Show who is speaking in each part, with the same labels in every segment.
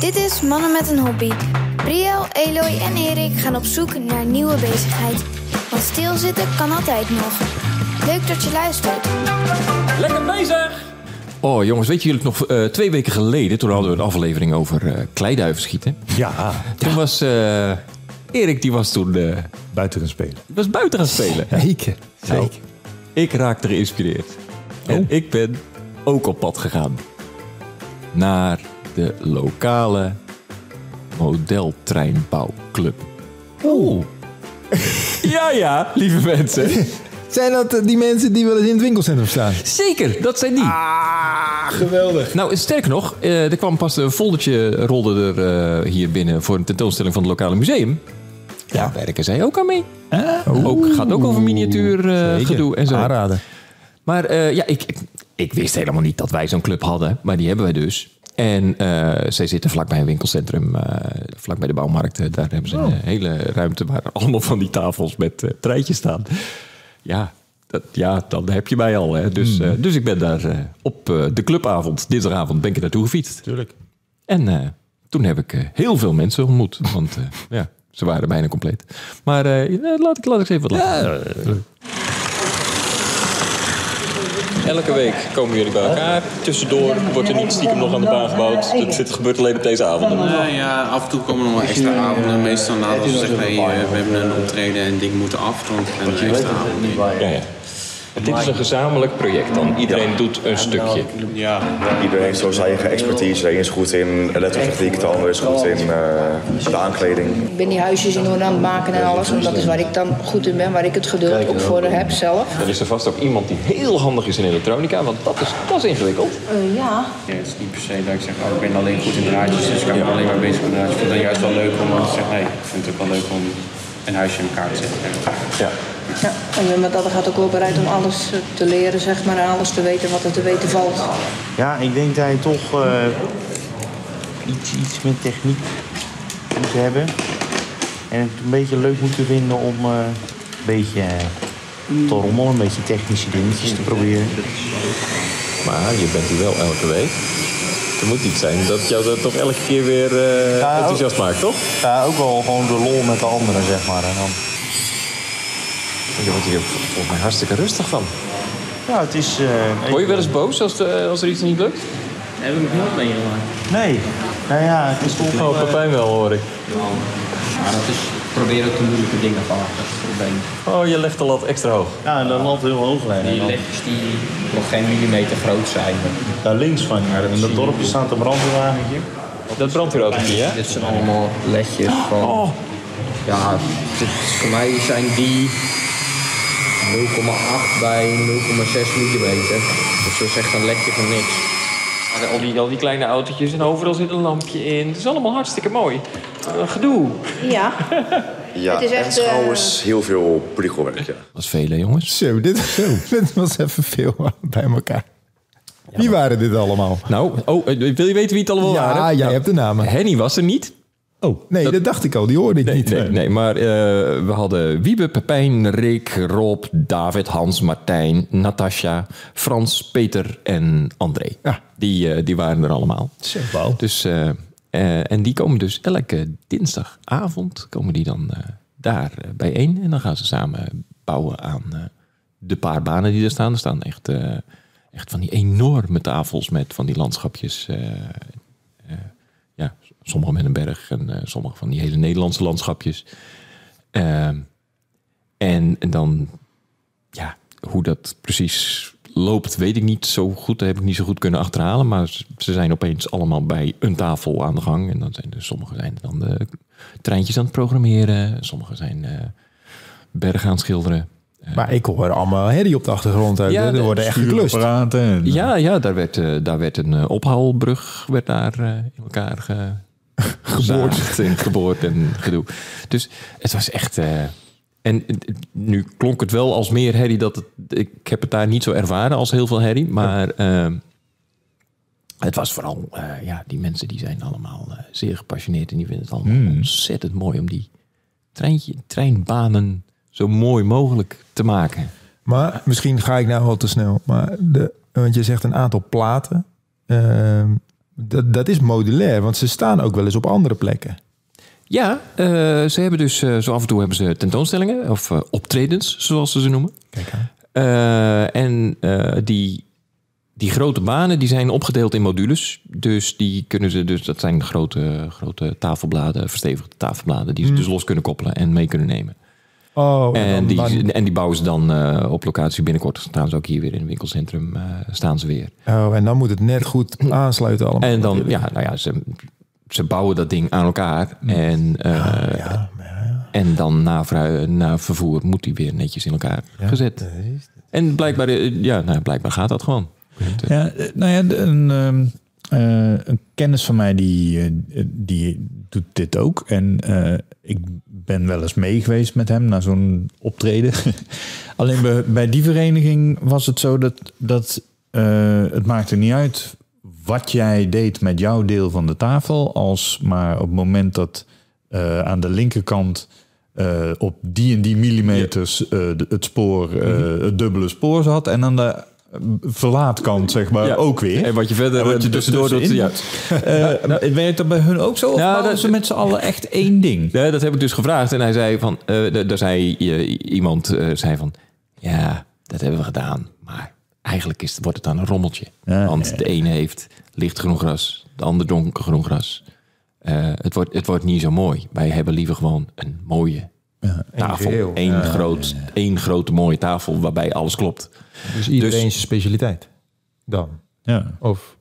Speaker 1: Dit is Mannen met een Hobby. Briel, Eloy en Erik gaan op zoek naar nieuwe bezigheid. Want stilzitten kan altijd nog. Leuk dat je luistert.
Speaker 2: Lekker bezig!
Speaker 3: Oh jongens, weet jullie het nog? eh, twee weken geleden, toen hadden we een aflevering over eh, kleiduiven schieten.
Speaker 4: Ja,
Speaker 3: Toen was eh, Erik, die was toen eh,
Speaker 4: buiten gaan spelen.
Speaker 3: die was buiten gaan spelen.
Speaker 4: Zeker.
Speaker 3: Nou, ik raakte geïnspireerd. En
Speaker 4: Oh.
Speaker 3: ik ben ook op pad gegaan. Naar de lokale modeltreinbouwclub.
Speaker 4: Oh.
Speaker 3: Ja, ja, lieve mensen.
Speaker 4: Zijn dat eh, die mensen die wel eens in het winkelcentrum staan?
Speaker 3: Zeker, dat zijn die.
Speaker 4: Ah, geweldig.
Speaker 3: Nou, sterker nog, eh, er kwam pas een foldertje rolde er eh, hier binnen voor een tentoonstelling van het lokale museum. Ja, werken zij ook aan mee. Ook, gaat ook over miniatuur eh,
Speaker 4: Zeker.
Speaker 3: gedoe en zo.
Speaker 4: Aanraden.
Speaker 3: Maar eh, ja, ik, ik, ik wist helemaal niet dat wij zo'n club hadden, maar die hebben wij dus. En eh, zij zitten vlakbij een winkelcentrum, eh vlakbij de bouwmarkt. Eh, Daar hebben ze een eh, hele ruimte waar allemaal van die tafels met eh, treintjes staan. Ja, dat, ja, dan heb je mij al. Hè. Dus, eh, dus ik ben daar eh, op eh, de clubavond, dinsdagavond, ben ik er naartoe gefietst.
Speaker 4: Tuurlijk.
Speaker 3: En eh, toen heb ik eh, heel veel mensen ontmoet, want eh, ja, ze waren bijna compleet. Maar eh, eh, laat, ik, laat ik eens even wat laten. Elke week komen jullie bij elkaar. Tussendoor wordt er niet stiekem nog aan de baan gebouwd. Dat zit, gebeurt alleen op deze avonden.
Speaker 5: Nou ja, af en toe komen er nog wel extra avonden. Meestal nadat ze zeggen, hey, eh, we hebben een optreden en dingen moeten af, dan gaan er extra avonden.
Speaker 3: Ja, ja. Dit is een gezamenlijk project dan. Iedereen doet een stukje.
Speaker 5: Ja,
Speaker 6: Iedereen heeft zo zijn eigen expertise. De een is goed in elektrotechniek, de ander is goed in eh, de aankleding.
Speaker 7: Ik ben die huisjes in orde aan het maken en alles. En dat is waar ik dan goed in ben, waar ik het geduld ook voor heb zelf.
Speaker 3: Er is er vast ook iemand die heel handig is in elektronica, want dat is, dat is ingewikkeld.
Speaker 7: Eh, ja.
Speaker 5: Ja, het is niet per se dat ik zeg, oh, ik ben alleen goed in draadjes, dus ik kan me alleen maar bezig met draadjes. Ik vind het juist wel leuk om te zeggen, nee, ik vind het ook wel leuk om een huisje in elkaar te zetten.
Speaker 3: Ja.
Speaker 7: ja. En met dat gaat ook wel bereid om alles eh, te leren, zeg maar. En alles te weten wat er te weten valt.
Speaker 8: Ja, ik denk dat je toch eh, iets, iets met techniek moet hebben. En het een beetje leuk moeten vinden om eh, een beetje eh, te rommelen, een beetje technische dingetjes te proberen.
Speaker 3: Maar je bent er wel elke week. Er moet iets zijn dat jou dat toch elke keer weer eh,
Speaker 8: Ja, enthousiast
Speaker 3: maakt, toch?
Speaker 8: Ja, ook wel gewoon de lol met de anderen, zeg maar. En dan,
Speaker 3: Je wordt hier volgens mij hartstikke rustig van.
Speaker 8: ja, het is... eh,
Speaker 3: Word je wel eens boos als, de- als er iets niet lukt?
Speaker 8: Nee. Nou ja, het is toch... eh,
Speaker 3: Pepijn Oh, wel, hoor ik. Maar dat is proberen ook de moeilijke dingen van achter te brengen. Oh, je legt de lat extra hoog.
Speaker 8: ja, en dan landt heel hoog liggen. Die legjes die nog geen millimeter groot zijn. Daar links van, in dat dorpje staat een brandweerwagentje.
Speaker 3: Dat brandweerautootje, hè?
Speaker 9: Dit zijn allemaal ledjes van...
Speaker 8: Oh.
Speaker 9: Ja, dit, voor mij zijn die 0,8 bij 0,6 millimeter. Dus dat is echt een ledje van niks.
Speaker 3: Ah, Al die, al die kleine autootjes en overal zit een lampje in. Het is allemaal hartstikke mooi. Eh, gedoe.
Speaker 7: Ja.
Speaker 6: Ja,
Speaker 7: Het is
Speaker 6: en
Speaker 7: echt, eh,
Speaker 6: trouwens heel veel prikkelwerk. Ja.
Speaker 3: Dat is vele, jongens.
Speaker 4: Zo, dit, dit was even veel bij elkaar. Wie waren dit allemaal?
Speaker 3: Nou, oh, eh, wil je weten wie het allemaal waren?
Speaker 4: Ja, jij
Speaker 3: Nou,
Speaker 4: hebt de namen.
Speaker 3: Henny was er niet.
Speaker 4: Oh, nee, dat, dacht ik al. Die hoorde ik
Speaker 3: Nee,
Speaker 4: niet.
Speaker 3: nee, nee, maar eh, we hadden Wiebe, Pepijn, Rick, Rob, David, Hans, Martijn, Natasja, Frans, Peter en André.
Speaker 4: Ja.
Speaker 3: Die, eh, die waren er allemaal.
Speaker 4: Zo, wauw.
Speaker 3: Dus, eh, eh, en die komen dus elke dinsdagavond komen die dan eh, daar eh, bijeen. En dan gaan ze samen bouwen aan eh, de paar banen die er staan. Er staan echt, eh, echt van die enorme tafels met van die landschapjes. eh, eh, ja, sommige met een berg en eh, sommige van die hele Nederlandse landschapjes. Ehm, en, en dan, ja, hoe dat precies loopt, weet ik niet zo goed. Dat heb ik niet zo goed kunnen achterhalen. Maar ze- ze zijn opeens allemaal bij een tafel aan de gang. En dan zijn er, sommigen zijn dan de treintjes aan het programmeren. Sommigen zijn eh, bergen aan het schilderen.
Speaker 4: Maar ik hoor allemaal herrie op de achtergrond. uit.
Speaker 3: Ja,
Speaker 4: er
Speaker 3: de-
Speaker 4: worden echt geklust.
Speaker 3: Ja, ja daar, werd, eh, daar werd een eh, ophaalbrug werd daar, eh, in elkaar ge... gezaagd en geboord en gedoe. Dus het was echt... eh, en eh, nu klonk het wel als meer herrie. Dat het, ik heb het daar niet zo ervaren als heel veel herrie. Maar eh, het was vooral... eh, ja, die mensen die zijn allemaal eh, zeer gepassioneerd. En die vinden het allemaal ontzettend mooi om die treintje, treinbanen zo mooi mogelijk te maken.
Speaker 4: Maar misschien ga ik nou wel te snel. Maar de, want je zegt een aantal platen. Ehm, Dat, dat is modulair, want ze staan ook wel eens op andere plekken.
Speaker 3: Ja, eh, ze hebben dus eh, zo af en toe hebben ze tentoonstellingen of eh, optredens, zoals ze ze noemen.
Speaker 4: Kijk aan.
Speaker 3: Eh, en eh, die, die grote banen die zijn opgedeeld in modules. Dus die kunnen ze dus, dat zijn grote, grote tafelbladen, verstevigde tafelbladen, die ze dus los kunnen koppelen en mee kunnen nemen.
Speaker 4: Oh,
Speaker 3: En,
Speaker 4: Hmm. dan-
Speaker 3: die,
Speaker 4: dan-
Speaker 3: en die bouwen ze dan eh, op locatie binnenkort. Staan ze ook hier weer in het winkelcentrum, eh, staan ze weer.
Speaker 4: oh, en dan moet het net goed aansluiten allemaal.
Speaker 3: En dan, ja, nou ja, ze, ze bouwen dat ding aan elkaar. En,
Speaker 10: Ah,
Speaker 3: eh,
Speaker 4: Ja, maar ja.
Speaker 3: en dan na, verhu- na vervoer moet die weer netjes in elkaar gezet. En blijkbaar, eh, ja, nou, blijkbaar gaat dat gewoon.
Speaker 10: Ja, eh, nou ja, de- een, ehm, eh, een kennis van mij die, eh, die doet dit ook. En eh, ik ben wel eens mee geweest met hem naar zo'n optreden. Alleen bij, bij die vereniging was het zo dat, dat eh, het maakte niet uit wat jij deed met jouw deel van de tafel. Als maar op het moment dat eh, aan de linkerkant eh, op die en die millimeters eh, de- het spoor, eh, het dubbele spoor zat. En aan de eh, verlaatkant, zeg maar,
Speaker 3: Ja.
Speaker 10: Eh, ook weer.
Speaker 3: En wat je verder
Speaker 10: En wat je dus
Speaker 3: eh, tussendoor doet.
Speaker 10: tussenin
Speaker 3: Ja.
Speaker 10: Eh, maar Werkt dat bij hun ook zo? Of
Speaker 3: Nou,
Speaker 10: bouwen
Speaker 3: dat-
Speaker 10: ze met z'n allen echt één ding?
Speaker 3: Nee, dat heb ik dus gevraagd. En hij zei van, eh, d- daar zei eh, iemand eh, zei van, ja, dat hebben we gedaan. Maar eigenlijk is, wordt het dan een rommeltje.
Speaker 10: Ja,
Speaker 3: Want
Speaker 10: ja.
Speaker 3: de ene heeft lichtgroen gras, de ander donkergroen gras. Eh, het, wordt, het wordt niet zo mooi. Wij hebben liever gewoon een mooie tafel. Eén groot, één grote mooie tafel waarbij alles klopt.
Speaker 4: Dus iedereen zijn specialiteit. Dan.
Speaker 10: Ja.
Speaker 4: Of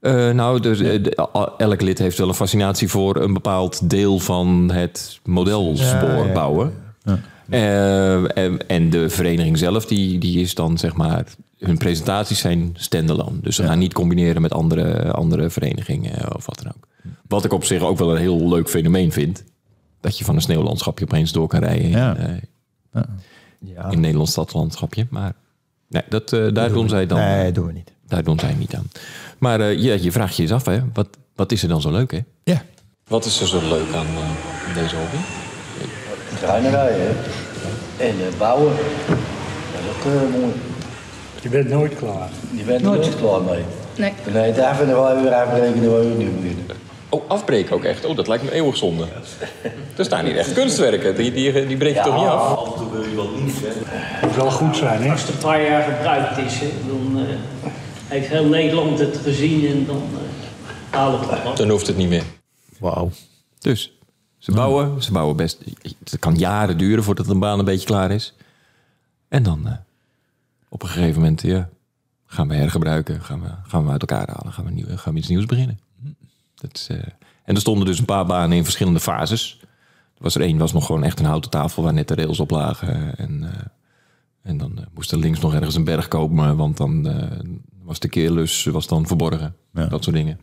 Speaker 3: Eh, nou, dus, eh, de- a- elk lid heeft wel een fascinatie voor een bepaald deel van het modelspoor
Speaker 4: Ja, ja, ja.
Speaker 3: bouwen. Eh, en, en de vereniging zelf, die, die is dan zeg maar. Hun presentaties zijn standalone. Dus ze gaan niet combineren met andere, andere verenigingen eh, of wat dan ook. Wat ik op zich ook wel een heel leuk fenomeen vind. Dat je van een sneeuwlandschapje opeens door kan rijden.
Speaker 10: Ja.
Speaker 3: In, eh, in een Nederlands stadslandschapje. Maar nee, dat, eh, daar doen zij dan.
Speaker 4: nee, doen we niet.
Speaker 3: Daar doen zij niet aan. Maar eh, ja, je vraagt je eens af, hè? Wat, wat is er dan zo leuk, hè?
Speaker 10: Ja.
Speaker 3: Wat is er zo leuk aan eh, deze hobby?
Speaker 9: Treinen rijden en eh, bouwen. Dat is ook eh, mooi.
Speaker 11: Je bent nooit klaar.
Speaker 9: Je bent er nooit klaar mee.
Speaker 7: Nee.
Speaker 9: Nee, daar vinden wij weer afrekenen waar we nu beginnen.
Speaker 3: Oh, afbreken ook echt. Oh, dat lijkt me eeuwig zonde. Er staan hier echt kunstwerken. Die, die, die breek je toch niet af?
Speaker 11: Moet wel goed zijn, hè?
Speaker 12: Als het een paar jaar gebruikt is, hè, dan eh, heeft heel Nederland het gezien en dan eh, halen we het wel.
Speaker 3: Dan hoeft het niet meer.
Speaker 10: Wauw.
Speaker 3: Dus, ze bouwen. Ze bouwen best... Het kan jaren duren voordat een baan een beetje klaar is. En dan eh, op een gegeven moment, ja... Gaan we hergebruiken, gaan we, gaan we uit elkaar halen, gaan we, nieuw, gaan we iets nieuws beginnen. Dat is, eh, en er stonden dus een paar banen in verschillende fases. Er was er één, was nog gewoon echt een houten tafel waar net de rails op lagen. En, eh, en dan eh, moest er links nog ergens een berg komen, want dan eh, was de keerlus was dan verborgen.
Speaker 10: Ja.
Speaker 3: Dat soort dingen.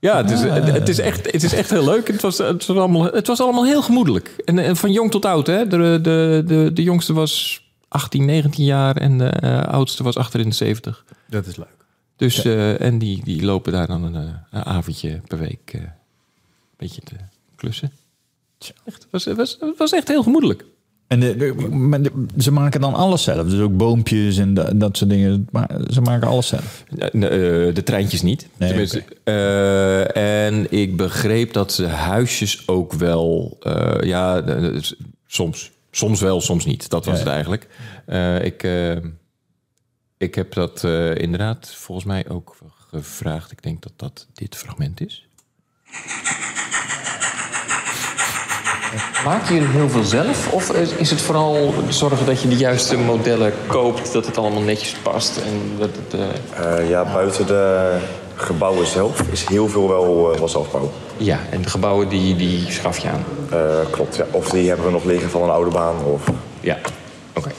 Speaker 3: Ja, het is, het, het is echt, het is echt heel leuk. Het was, het, was allemaal, het was allemaal heel gemoedelijk. En, en van jong tot oud. Hè? De, de, de, de jongste was 18, 19 jaar en de eh, oudste was achter in de 70.
Speaker 4: Dat is leuk.
Speaker 3: Dus, eh, en die, die lopen daar dan een, eh, een avondje per week eh, een beetje te klussen. Echt, het was, het was, het was echt heel gemoedelijk.
Speaker 10: En de, de- maar de- ze maken dan alles zelf. Dus ook boompjes en da- dat soort dingen. Maar ze maken alles zelf.
Speaker 3: Eh, eh, de treintjes niet.
Speaker 10: Nee,
Speaker 3: Tenminste, eh, en ik begreep dat ze huisjes ook wel... eh, ja, de- de- s- soms, soms wel, soms niet. Dat was
Speaker 10: Ja,
Speaker 3: het
Speaker 10: ja.
Speaker 3: eigenlijk. Eh, ik, eh, ik heb dat eh, inderdaad volgens mij ook gevraagd. Ik denk dat dat dit fragment is. Maak je heel veel zelf? Of is het vooral zorgen dat je de juiste modellen koopt... dat het allemaal netjes past en dat het...
Speaker 6: Eh, ja, buiten de gebouwen zelf is heel veel wel, eh, wel zelfbouw.
Speaker 3: Ja, en de gebouwen die, die schaf je aan.
Speaker 6: Eh, klopt, ja. Of die hebben we nog liggen van een oude baan. Of...
Speaker 3: Ja, oké.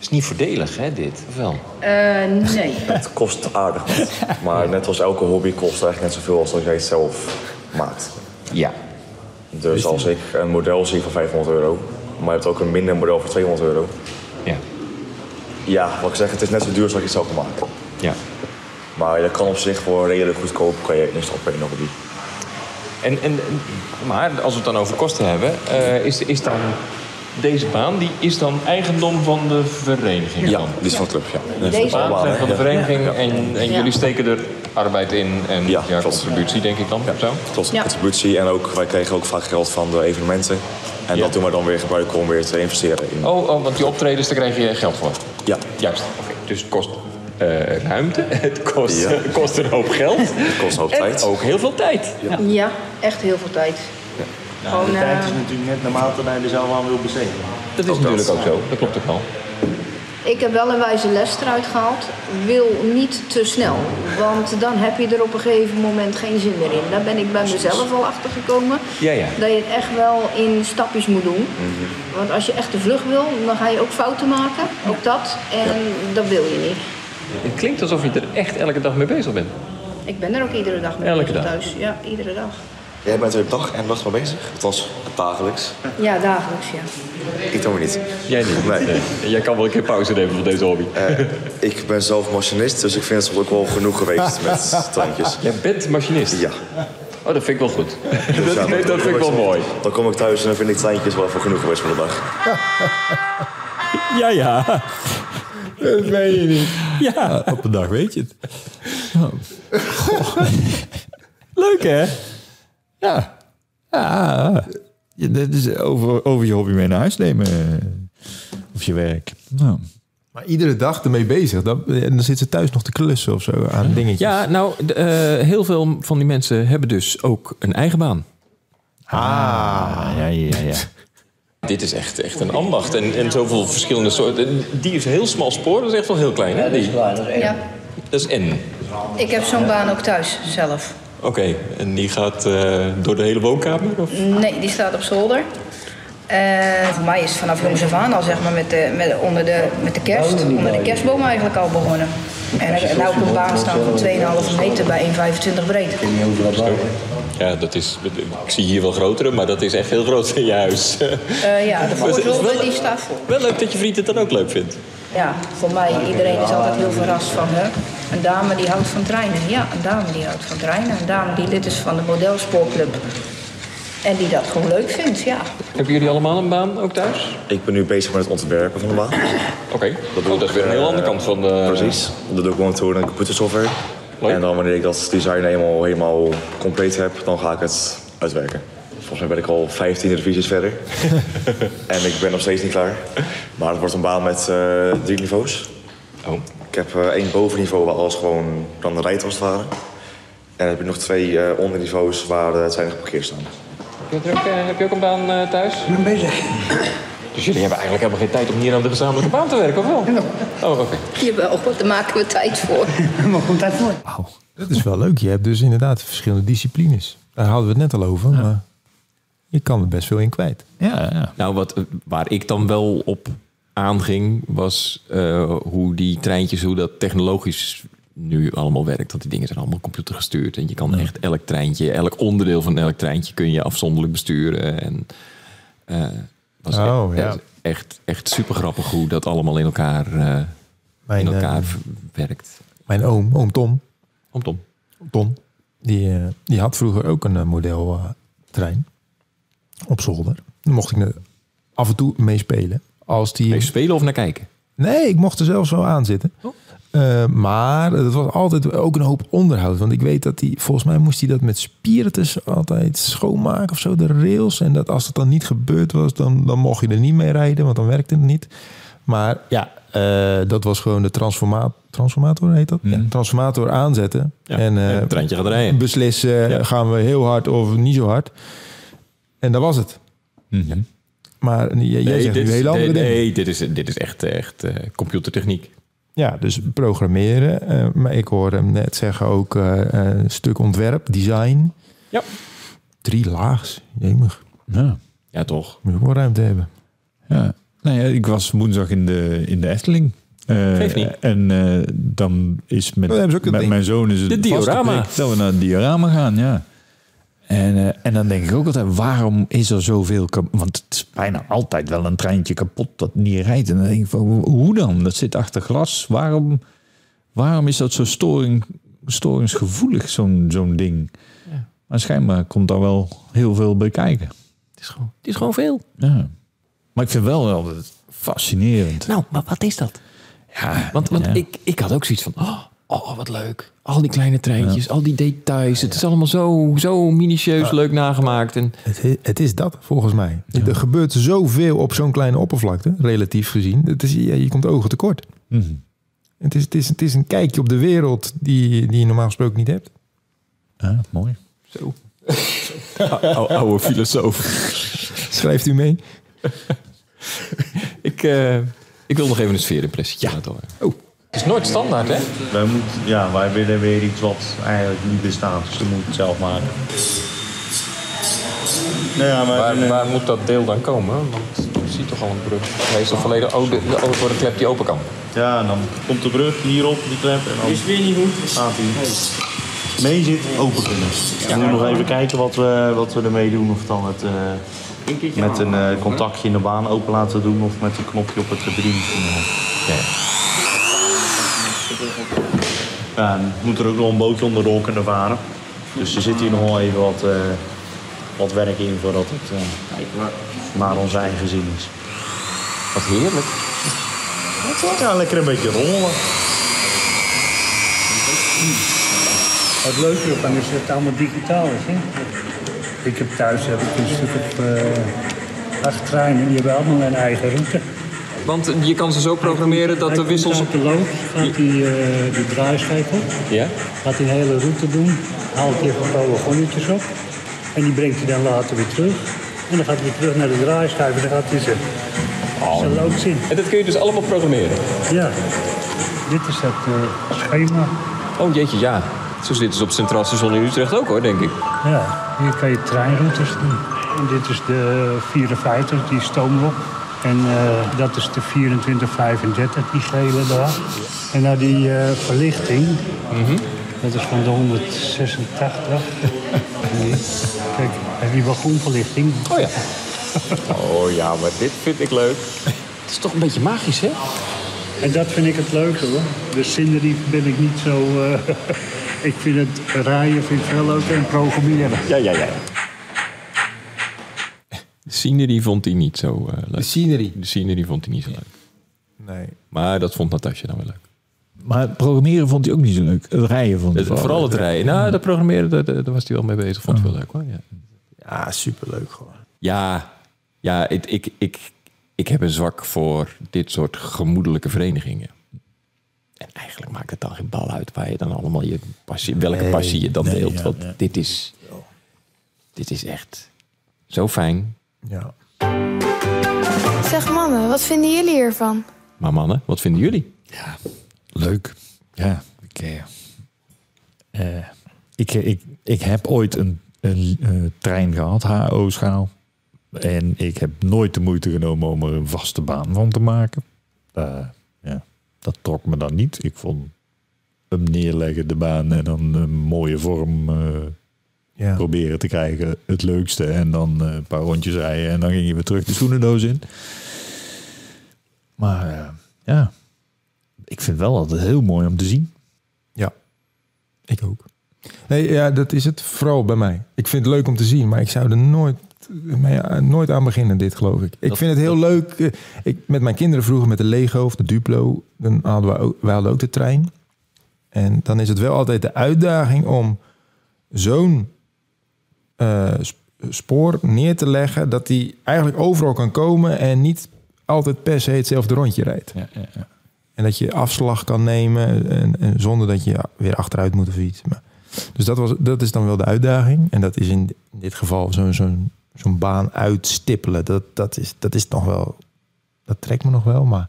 Speaker 3: Is niet voordelig, hè, dit? Of wel?
Speaker 7: Eh, nee.
Speaker 6: Het kost aardig wat. Maar net als elke hobby kost het eigenlijk net zoveel als dat jij het zelf maakt.
Speaker 3: Ja.
Speaker 6: Dus als ik een model zie van 500 euro, maar je hebt ook een minder model van 200 euro.
Speaker 3: Ja.
Speaker 6: Ja, wat ik zeg, het is net zo duur als dat je het zelf kan maken.
Speaker 3: ja.
Speaker 6: Maar je kan op zich voor redelijk goedkoop kan je instappen in een hobby.
Speaker 3: En, en, maar als we het dan over kosten hebben, eh, is, is dan deze baan die is dan eigendom van de vereniging?
Speaker 6: Ja,
Speaker 3: dan?
Speaker 6: die is van de club, ja.
Speaker 3: Dus de
Speaker 6: Deze?
Speaker 3: baan zijn van de
Speaker 6: Ja.
Speaker 3: vereniging
Speaker 6: Ja.
Speaker 3: en, en
Speaker 6: Ja.
Speaker 3: jullie steken er arbeid in en ja, contributie, denk ik dan. Zo?
Speaker 6: Tot
Speaker 3: Ja.
Speaker 6: contributie en ook, wij kregen ook vaak geld van de evenementen. En dat doen we dan weer gebruiken om weer te investeren in.
Speaker 3: Oh, oh, want die optredens, daar krijg je geld voor?
Speaker 6: Ja.
Speaker 3: Juist. Oké, Dus het kost eh, ruimte, het kost,
Speaker 6: Ja.
Speaker 3: het kost een hoop geld. Het
Speaker 6: kost een hoop
Speaker 3: en
Speaker 6: tijd.
Speaker 3: ook heel veel tijd.
Speaker 7: Ja. echt heel veel tijd.
Speaker 8: Nou, de
Speaker 7: Gewoon,
Speaker 8: tijd
Speaker 7: eh,
Speaker 8: is natuurlijk net naarmate hij er zelf aan wil besteden.
Speaker 3: Dat is natuurlijk ook zo, dat klopt ook wel.
Speaker 7: Ik heb wel een wijze les eruit gehaald. Wil niet te snel. Want dan heb je er op een gegeven moment geen zin meer in. Daar ben ik bij mezelf al achter gekomen.
Speaker 3: Ja, ja. Mhm.
Speaker 7: Dat je het echt wel in stapjes moet doen. Want als je echt te vlug wil, dan ga je ook fouten maken. Ook dat. En dat wil je niet.
Speaker 3: Het klinkt alsof je er echt elke dag mee bezig bent.
Speaker 7: Ik ben er ook iedere dag mee
Speaker 3: Elke
Speaker 7: bezig
Speaker 3: dag?
Speaker 7: thuis. Ja, iedere dag.
Speaker 6: Jij bent er dag en nacht mee bezig? Het was dagelijks.
Speaker 7: Ja, dagelijks, ja.
Speaker 6: Ik doe het niet.
Speaker 3: Jij niet?
Speaker 6: Nee.
Speaker 3: Jij kan wel een keer pauze nemen van deze hobby.
Speaker 6: ik ben zelf machinist, dus ik vind het ook wel genoeg geweest met tandjes.
Speaker 3: Jij bent machinist?
Speaker 6: Ja.
Speaker 3: Oh, dat vind ik wel goed.
Speaker 6: Dus ja,
Speaker 3: dat, dat vind ik wel mooi.
Speaker 6: Dan kom ik thuis en dan vind ik tandjes wel voor genoeg geweest voor de dag.
Speaker 10: Ja, ja. Dat ben je niet. Ja, op een dag weet je het. Oh. Goh. Leuk, hè? Ja. Ja. Ja, dit is over, over je hobby mee naar huis nemen. eh, Of je werk. Nou.
Speaker 4: Maar iedere dag ermee bezig. Dan, en dan zit ze thuis nog te klussen of zo aan dingetjes.
Speaker 3: Ja, nou, de, eh, heel veel van die mensen hebben dus ook een eigen baan.
Speaker 10: Ah, ja, ja, ja.
Speaker 3: Dit is echt, echt een ambacht en, en zoveel verschillende soorten. Die is heel smal spoor, dat is echt wel heel klein, hè?
Speaker 9: Ja, dat is
Speaker 3: Die.
Speaker 9: waar, dat is
Speaker 7: Ja,
Speaker 3: Dat is N.
Speaker 7: ik heb zo'n baan ook thuis zelf.
Speaker 3: Oké, en die gaat eh, door de hele woonkamer? Of?
Speaker 7: Nee, die staat op zolder. Eh, voor mij is het vanaf jongs af aan al zeg maar met de, met, onder de, met de
Speaker 3: Oh,
Speaker 7: kerst, onder de kerstboom eigenlijk al begonnen. En
Speaker 3: dus
Speaker 7: ik- nou op een baan staan van 2,5 meter bij 1,25 breed.
Speaker 3: Ja, dat is, ik zie hier wel grotere, maar dat is echt heel groot in je huis.
Speaker 7: Eh, ja, de
Speaker 3: Dus Het is
Speaker 7: voorzolder
Speaker 3: wel-
Speaker 7: die staat vol.
Speaker 3: Wel leuk dat je vriend het dan ook leuk vindt.
Speaker 7: Ja, voor mij, iedereen is altijd heel verrast van hè. Een dame die houdt van treinen. Ja, een dame die houdt van treinen. Een dame die lid is van de modelspoorclub. En die dat gewoon leuk vindt, ja.
Speaker 3: Hebben jullie allemaal een baan ook thuis?
Speaker 6: Ik ben nu bezig met het ontwerpen van de baan.
Speaker 3: Oké, oh, dat is weer een heel andere kant van de...
Speaker 6: Precies. Dat doe ik gewoon door een computersoftware. En dan wanneer ik dat design eenmaal helemaal compleet heb, dan ga ik het uitwerken. Volgens mij ben ik al 15 revisies verder. en ik ben nog steeds niet klaar. Maar het wordt een baan met eh, drie niveaus.
Speaker 3: Oh.
Speaker 6: Ik heb eh, één bovenniveau waar alles gewoon dan rijdt als het ware. En dan heb ik nog twee eh, onderniveaus waar eh, het zijn geparkeerd staan.
Speaker 3: Heb je ook, eh, heb je ook een baan eh, thuis? Ik ben bezig. Dus jullie hebben eigenlijk helemaal geen tijd om hier aan de gezamenlijke baan te werken, of wel? Oh, oké.
Speaker 7: Jawel, daar maken we tijd voor.
Speaker 13: Maar komt tijd voor.
Speaker 4: Dat is wel leuk. Je hebt dus inderdaad verschillende disciplines. Daar hadden we het net al over, maar je kan er best veel in kwijt.
Speaker 10: Ja, ja.
Speaker 3: Nou, wat, eh, waar ik dan wel op aanging, was eh, hoe die treintjes, hoe dat technologisch nu allemaal werkt. Want die dingen zijn allemaal computergestuurd. En je kan echt elk treintje, elk onderdeel van elk treintje kun je afzonderlijk besturen. En eh was
Speaker 4: Oh,
Speaker 3: e-
Speaker 4: ja.
Speaker 3: echt, echt super grappig hoe dat allemaal in elkaar, eh,
Speaker 4: Mijn,
Speaker 3: in elkaar
Speaker 4: eh,
Speaker 3: werkt.
Speaker 4: Mijn oom, oom Tom,
Speaker 3: Om Tom.
Speaker 4: Tom die, eh, die had vroeger ook een eh, model modeltrein op zolder. Daar mocht ik er af en toe mee spelen. Als die...
Speaker 3: Mee spelen of naar kijken?
Speaker 4: Nee, ik mocht er zelfs wel aan zitten. Eh, maar dat was altijd ook een hoop onderhoud. Want ik weet dat hij, volgens mij moest hij dat met spiritus altijd schoonmaken of zo, de rails. En dat als dat dan niet gebeurd was, dan, dan mocht je er niet mee rijden, want dan werkte het niet. Maar ja, eh, dat was gewoon de transforma- transformator, heet dat? Ja, transformator aanzetten. en, eh,
Speaker 3: het treintje gaat rijden.
Speaker 4: Beslissen, gaan we heel hard of niet zo hard. En dat was het. Maar eh, jij, jij zegt
Speaker 3: dit,
Speaker 4: nu
Speaker 3: is-
Speaker 4: hele andere
Speaker 3: Mhm. nee,
Speaker 4: dingen.
Speaker 3: nee, dit is, dit is echt, echt eh, computertechniek.
Speaker 4: Ja, dus programmeren. eh, maar ik hoorde hem net zeggen ook eh, eh, een stuk ontwerp, design.
Speaker 3: Ja.
Speaker 4: Drie laags, jemig.
Speaker 10: Ja.
Speaker 3: Ja, toch.
Speaker 4: Moet je ook wel ruimte hebben.
Speaker 10: Ja. Nou ja, ik was woensdag in de, in de Efteling. Eh,
Speaker 4: Geeft niet.
Speaker 10: En eh, dan is
Speaker 4: Oh,
Speaker 10: met,
Speaker 4: daar hebben ze ook dat
Speaker 10: met
Speaker 4: ding.
Speaker 10: mijn zoon is het
Speaker 4: Dit diorama.
Speaker 10: vastgeprikt dat we naar het diorama gaan, ja. En, eh, en dan denk ik ook altijd, waarom is er zoveel... kap- Want het is bijna altijd wel een treintje kapot dat niet rijdt. En dan denk ik, van, hoe dan? Dat zit achter glas. Waarom, waarom is dat zo storing, storingsgevoelig, zo'n zo'n ding? Maar schijnbaar komt daar wel heel veel bij kijken.
Speaker 3: Het is gewoon veel.
Speaker 10: Ja. Maar ik vind wel wel dat het fascinerend.
Speaker 12: Nou, maar wat is dat?
Speaker 10: Ja,
Speaker 12: Want, want
Speaker 10: ja.
Speaker 12: ik, ik had ook zoiets van, oh, oh, wat leuk. Al die kleine treintjes, al die details. Het is allemaal zo, zo minutieus leuk nagemaakt. En
Speaker 4: Het is, het is dat, volgens mij. Er gebeurt zoveel op zo'n kleine oppervlakte, relatief gezien. Het is, ja, je komt ogen tekort. Het, is, het, is, het is een kijkje op de wereld die, die je normaal gesproken niet hebt.
Speaker 10: Ja, mooi.
Speaker 12: Zo. oude filosoof.
Speaker 4: Schrijft u mee?
Speaker 12: ik, eh, ik wil nog even een sfeerimpressietje laten horen. Oh. Het is nooit standaard, hè?
Speaker 3: Wij, moeten, ja, wij willen weer iets wat eigenlijk niet bestaat. Dus we moeten het zelf maken.
Speaker 12: waar, waar moet dat deel dan komen? Want ik zie toch al een brug. Meestal volledig oh, de, de, oh, voor de klep die open kan.
Speaker 3: Ja, en dan komt de brug hierop, die klep. En dan
Speaker 14: Is weer niet goed.
Speaker 3: gaat hij mee zit, open kunnen. We moeten nog even kijken wat we, wat we ermee doen. Of dan het, eh, met een eh, contactje in de baan open laten doen. Of met een knopje op het verdriet. Ja, en moet er ook nog een bootje onder de hol kunnen varen. Dus er zit hier nog wel even wat, eh, wat werk in voordat het eh, naar ons eigen zin is.
Speaker 12: Wat heerlijk.
Speaker 3: Ja, lekker een beetje rollen.
Speaker 15: Het leuke ervan is dat het allemaal digitaal is. Hè? Ik heb thuis heb ik een stuk op eh, acht treinen, die hebben allemaal een eigen route.
Speaker 12: Want je kan ze zo programmeren dat de wissels...
Speaker 15: Op de loop gaat die, eh, die draaischijf op,
Speaker 12: Ja?
Speaker 15: gaat die een hele route doen, haalt die even een paar wagonnetjes op en die brengt hij dan later weer terug. En dan gaat hij weer terug naar de draaischijf en dan gaat hij ze, ze
Speaker 3: Oh.
Speaker 15: loods in.
Speaker 12: En dat kun je dus allemaal programmeren?
Speaker 15: Ja, dit is dat eh, schema.
Speaker 12: Oh jeetje, ja. Zo zitten ze op Centraal Station in Utrecht ook hoor, denk ik.
Speaker 15: Ja, hier kan je treinroutes doen. En dit is de 54, die stoomlok. En eh, dat is de 2435, die gele daar. En nou die eh, verlichting, dat is van de 186. Nee. Kijk, en die wagonverlichting.
Speaker 12: Oh ja.
Speaker 6: Oh ja, maar dit vind ik leuk.
Speaker 12: Het is toch een beetje magisch, hè?
Speaker 15: En dat vind ik het leuke hoor. De scenery ben ik niet zo... eh, ik vind het rijden vind ik veel leuker en programmeren.
Speaker 6: Ja, ja, ja.
Speaker 12: De scenery vond hij niet zo eh, leuk. De
Speaker 4: scenery?
Speaker 12: De scenery vond hij niet zo leuk.
Speaker 4: Nee.
Speaker 12: Maar dat vond Natasja dan wel leuk.
Speaker 10: Maar programmeren vond hij ook niet zo leuk. Het rijden vond hij
Speaker 12: Het- vooral het
Speaker 10: leuk. Ah.
Speaker 12: rijden. Nou, dat programmeren, daar, daar daar was hij wel mee bezig. Vond hij wel leuk hoor. Ja,
Speaker 4: Ja, superleuk gewoon.
Speaker 12: ja, ja ik, ik, ik, ik heb een zwak voor dit soort gemoedelijke verenigingen. En eigenlijk maakt het dan geen bal uit waar je dan allemaal je passie, welke
Speaker 10: Nee,
Speaker 12: passie je dan
Speaker 10: nee,
Speaker 12: deelt.
Speaker 10: ja,
Speaker 12: want
Speaker 10: ja.
Speaker 12: dit is, dit is echt zo fijn.
Speaker 4: Ja.
Speaker 1: Zeg mannen, wat vinden jullie hiervan?
Speaker 12: Maar mannen, wat vinden jullie?
Speaker 10: Leuk. Ja, ik, eh, eh, ik, ik, ik heb ooit een, een eh, trein gehad, HO-schaal. En ik heb nooit de moeite genomen om er een vaste baan van te maken. Eh, ja, dat trok me dan niet. Ik vond hem neerleggen, de baan, en dan een mooie vorm eh,
Speaker 4: Ja.
Speaker 10: proberen te krijgen. Het leukste. En dan eh, een paar rondjes rijden. En dan ging je weer terug de schoenendoos in. Maar eh, ja, ik vind wel altijd heel mooi om te zien.
Speaker 4: Ik ook. Nee, ja, dat is het vooral bij mij. Ik vind het leuk om te zien, maar ik zou er nooit, mij, eh, nooit aan beginnen, dit geloof ik. Ik
Speaker 12: Dat-
Speaker 4: vind het heel leuk. eh, Ik, met mijn kinderen vroeger met de Lego of de Duplo, dan hadden we ook, wij hadden ook de trein. En dan is het wel altijd de uitdaging om zo'n eh, sp- spoor neer te leggen dat die eigenlijk overal kan komen en niet altijd per se hetzelfde rondje rijdt.
Speaker 10: Ja, ja, ja.
Speaker 4: En dat je afslag kan nemen en, en zonder dat je weer achteruit moet of iets. Maar, dus dat, was, dat is dan wel de uitdaging. En dat is in di- in dit geval zo'n zo'n zo'n baan uitstippelen. Dat, dat, is, dat is nog wel... Dat trekt me nog wel, maar...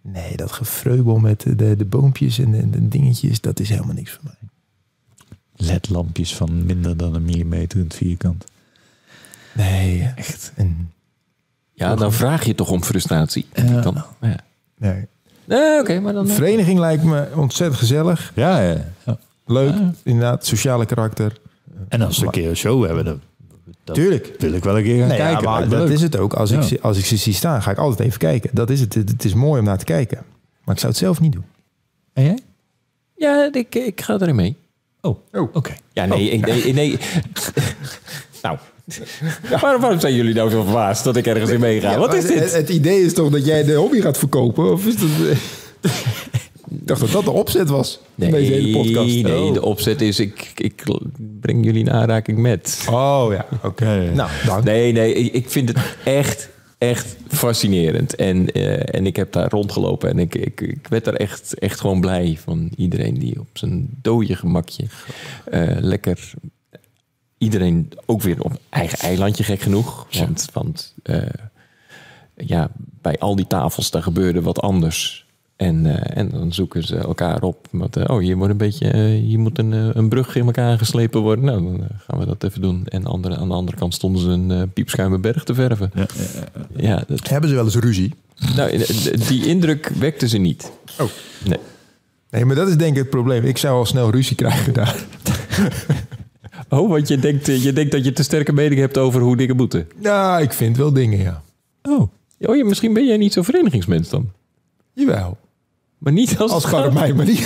Speaker 4: Nee, dat gefreubel met de, de, de boompjes en de, de dingetjes... dat is helemaal niks voor mij.
Speaker 10: LED-lampjes van minder dan een millimeter in het vierkant.
Speaker 4: Nee, echt. En,
Speaker 12: Ja, dan vraag je toch om frustratie.
Speaker 10: Ja.
Speaker 12: Dan, ja.
Speaker 4: nee.
Speaker 12: Nee, oké, maar dan...
Speaker 4: Vereniging lijkt me ontzettend gezellig.
Speaker 10: Ja, ja. ja.
Speaker 4: Leuk,
Speaker 10: Ja.
Speaker 4: inderdaad. Sociale karakter.
Speaker 10: En als we een keer een show hebben, dan, dan
Speaker 4: Tuurlijk.
Speaker 10: wil ik wel een keer gaan
Speaker 4: Nee, ja,
Speaker 10: kijken.
Speaker 4: maar
Speaker 10: Lijkt me
Speaker 4: dat
Speaker 10: leuk.
Speaker 4: is het ook. Als,
Speaker 10: Ja.
Speaker 4: ik, ze- als ik ze zie staan, ga ik altijd even kijken. Dat is het. Het het is mooi om naar te kijken. Maar ik zou het zelf niet doen.
Speaker 10: En jij?
Speaker 12: eh, Ja, ik, ik ga erin mee.
Speaker 10: Oh, oké.
Speaker 12: Ja, nee, ik, nee, nee. nou, Waarom, waarom zijn jullie nou zo verbaasd dat ik ergens in meega?
Speaker 4: Ja,
Speaker 12: Wat is
Speaker 4: maar
Speaker 12: dit?
Speaker 4: Het, het idee is toch dat jij de hobby gaat verkopen? Of is dat... ik dacht dat dat de opzet was.
Speaker 12: Nee,
Speaker 4: van deze hele podcast.
Speaker 12: nee
Speaker 4: Oh.
Speaker 12: de opzet is ik, ik breng jullie in aanraking met.
Speaker 4: Oh ja, oké. Nou, dank.
Speaker 12: Nee, nee, ik ik vind het echt, echt fascinerend. En, eh, en ik heb daar rondgelopen en ik, ik, ik werd daar echt, echt gewoon blij van. Iedereen die op zijn dode gemakje eh, lekker... Iedereen ook weer op eigen eilandje, gek genoeg. Want, want eh, ja, bij al die tafels, daar gebeurde wat anders. En, eh, en dan zoeken ze elkaar op. Want, eh, oh, hier moet een beetje, eh, hier moet een, eh, een brug in elkaar geslepen worden. Nou, dan eh, gaan we dat even doen. En andere, aan de andere kant stonden ze een eh, piepschuime berg te verven. Ja, dat...
Speaker 4: Hebben ze wel eens ruzie?
Speaker 12: Nou, eh, d- die indruk wekte ze niet.
Speaker 4: Oh.
Speaker 12: Nee.
Speaker 4: Nee, maar dat is denk ik het probleem. Ik zou al snel ruzie krijgen daar.
Speaker 12: Oh, want je denkt, eh, je denkt dat je te sterke mening hebt over hoe dingen moeten.
Speaker 4: Nou, ik vind wel dingen, ja.
Speaker 12: Oh. oh ja, misschien ben jij niet zo'n verenigingsmens dan.
Speaker 4: Jawel.
Speaker 12: Maar niet als...
Speaker 4: Als Garret mij maar niet.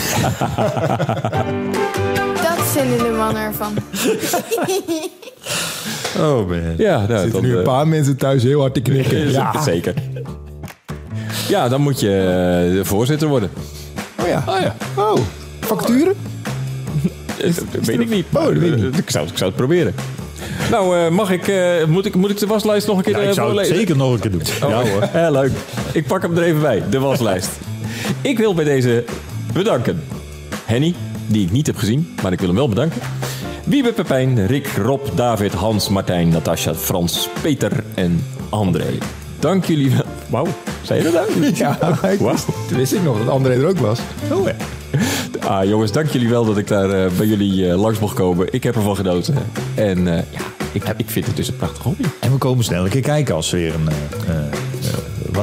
Speaker 1: Dat vinden de mannen ervan.
Speaker 10: Oh man.
Speaker 12: Ja, nou,
Speaker 4: er zitten
Speaker 12: dan,
Speaker 4: nu een
Speaker 12: eh,
Speaker 4: paar mensen thuis heel hard te knikken.
Speaker 12: Ja. Zeker. Ja, dan moet je eh, de voorzitter worden.
Speaker 4: Oh ja. Oh ja. Oh, facturen?
Speaker 12: dat Eh, weet ik niet. Oh, dat weet ik niet. Ik zou, ik zou het proberen. Nou, eh, mag ik, eh, moet ik, moet ik de waslijst nog een keer
Speaker 10: Ja, ik
Speaker 12: eh,
Speaker 10: zou het
Speaker 12: voorlezen?
Speaker 10: zeker nog een keer doen. Ja hoor.
Speaker 12: Eh, leuk. Ik pak hem er even bij, de waslijst. ik wil bij deze bedanken. Henny, die ik niet heb gezien, maar ik wil hem wel bedanken. Wiebe, Pepijn, Rick, Rob, David, Hans, Martijn, Natasja, Frans, Peter en André. Dank jullie wel. Wauw, zei je dat nou?
Speaker 4: Ja, ik
Speaker 12: Wat?
Speaker 4: Toen wist ik nog dat André er ook was.
Speaker 12: Oh ja. Ah, jongens, dank jullie wel dat ik daar eh, bij jullie eh, langs mocht komen. Ik heb ervan genoten. En eh, ja, ik, ik vind het dus een prachtig hobby.
Speaker 10: En we komen snel een keer kijken als we weer een... eh, eh,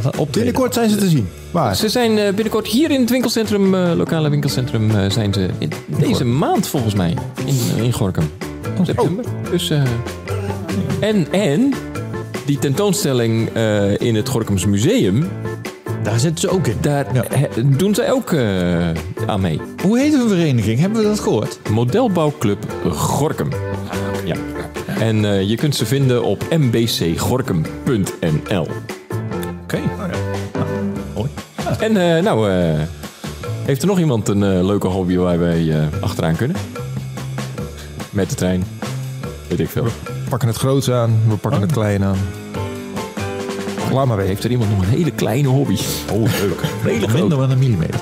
Speaker 10: wat op
Speaker 4: Binnenkort zijn ze te zien. Waar?
Speaker 12: Ze zijn eh, binnenkort hier in het winkelcentrum, eh, lokale winkelcentrum, eh, zijn ze in deze maand volgens mij in, in Gorkum. September. Dus, eh, en, en die tentoonstelling eh, in het Gorkums Museum,
Speaker 10: Daar zitten ze ook in.
Speaker 12: daar he- doen zij ook eh, aan mee.
Speaker 10: Hoe heet hun vereniging? Hebben we dat gehoord?
Speaker 12: Modelbouwclub Gorkum. Ja. En eh, je kunt ze vinden op mbcgorkum.nl. Oh, Ah,
Speaker 10: Oké. Hoi.
Speaker 12: En eh, nou, eh, heeft er nog iemand een eh, leuke hobby waar wij eh, achteraan kunnen? Met de trein. Weet ik veel.
Speaker 4: We pakken het groots aan, we pakken het klein aan. Laat maar weten.
Speaker 12: Heeft er iemand nog een hele kleine hobby?
Speaker 10: Oh, leuk.
Speaker 12: Redelijk
Speaker 10: Minder dan een millimeter.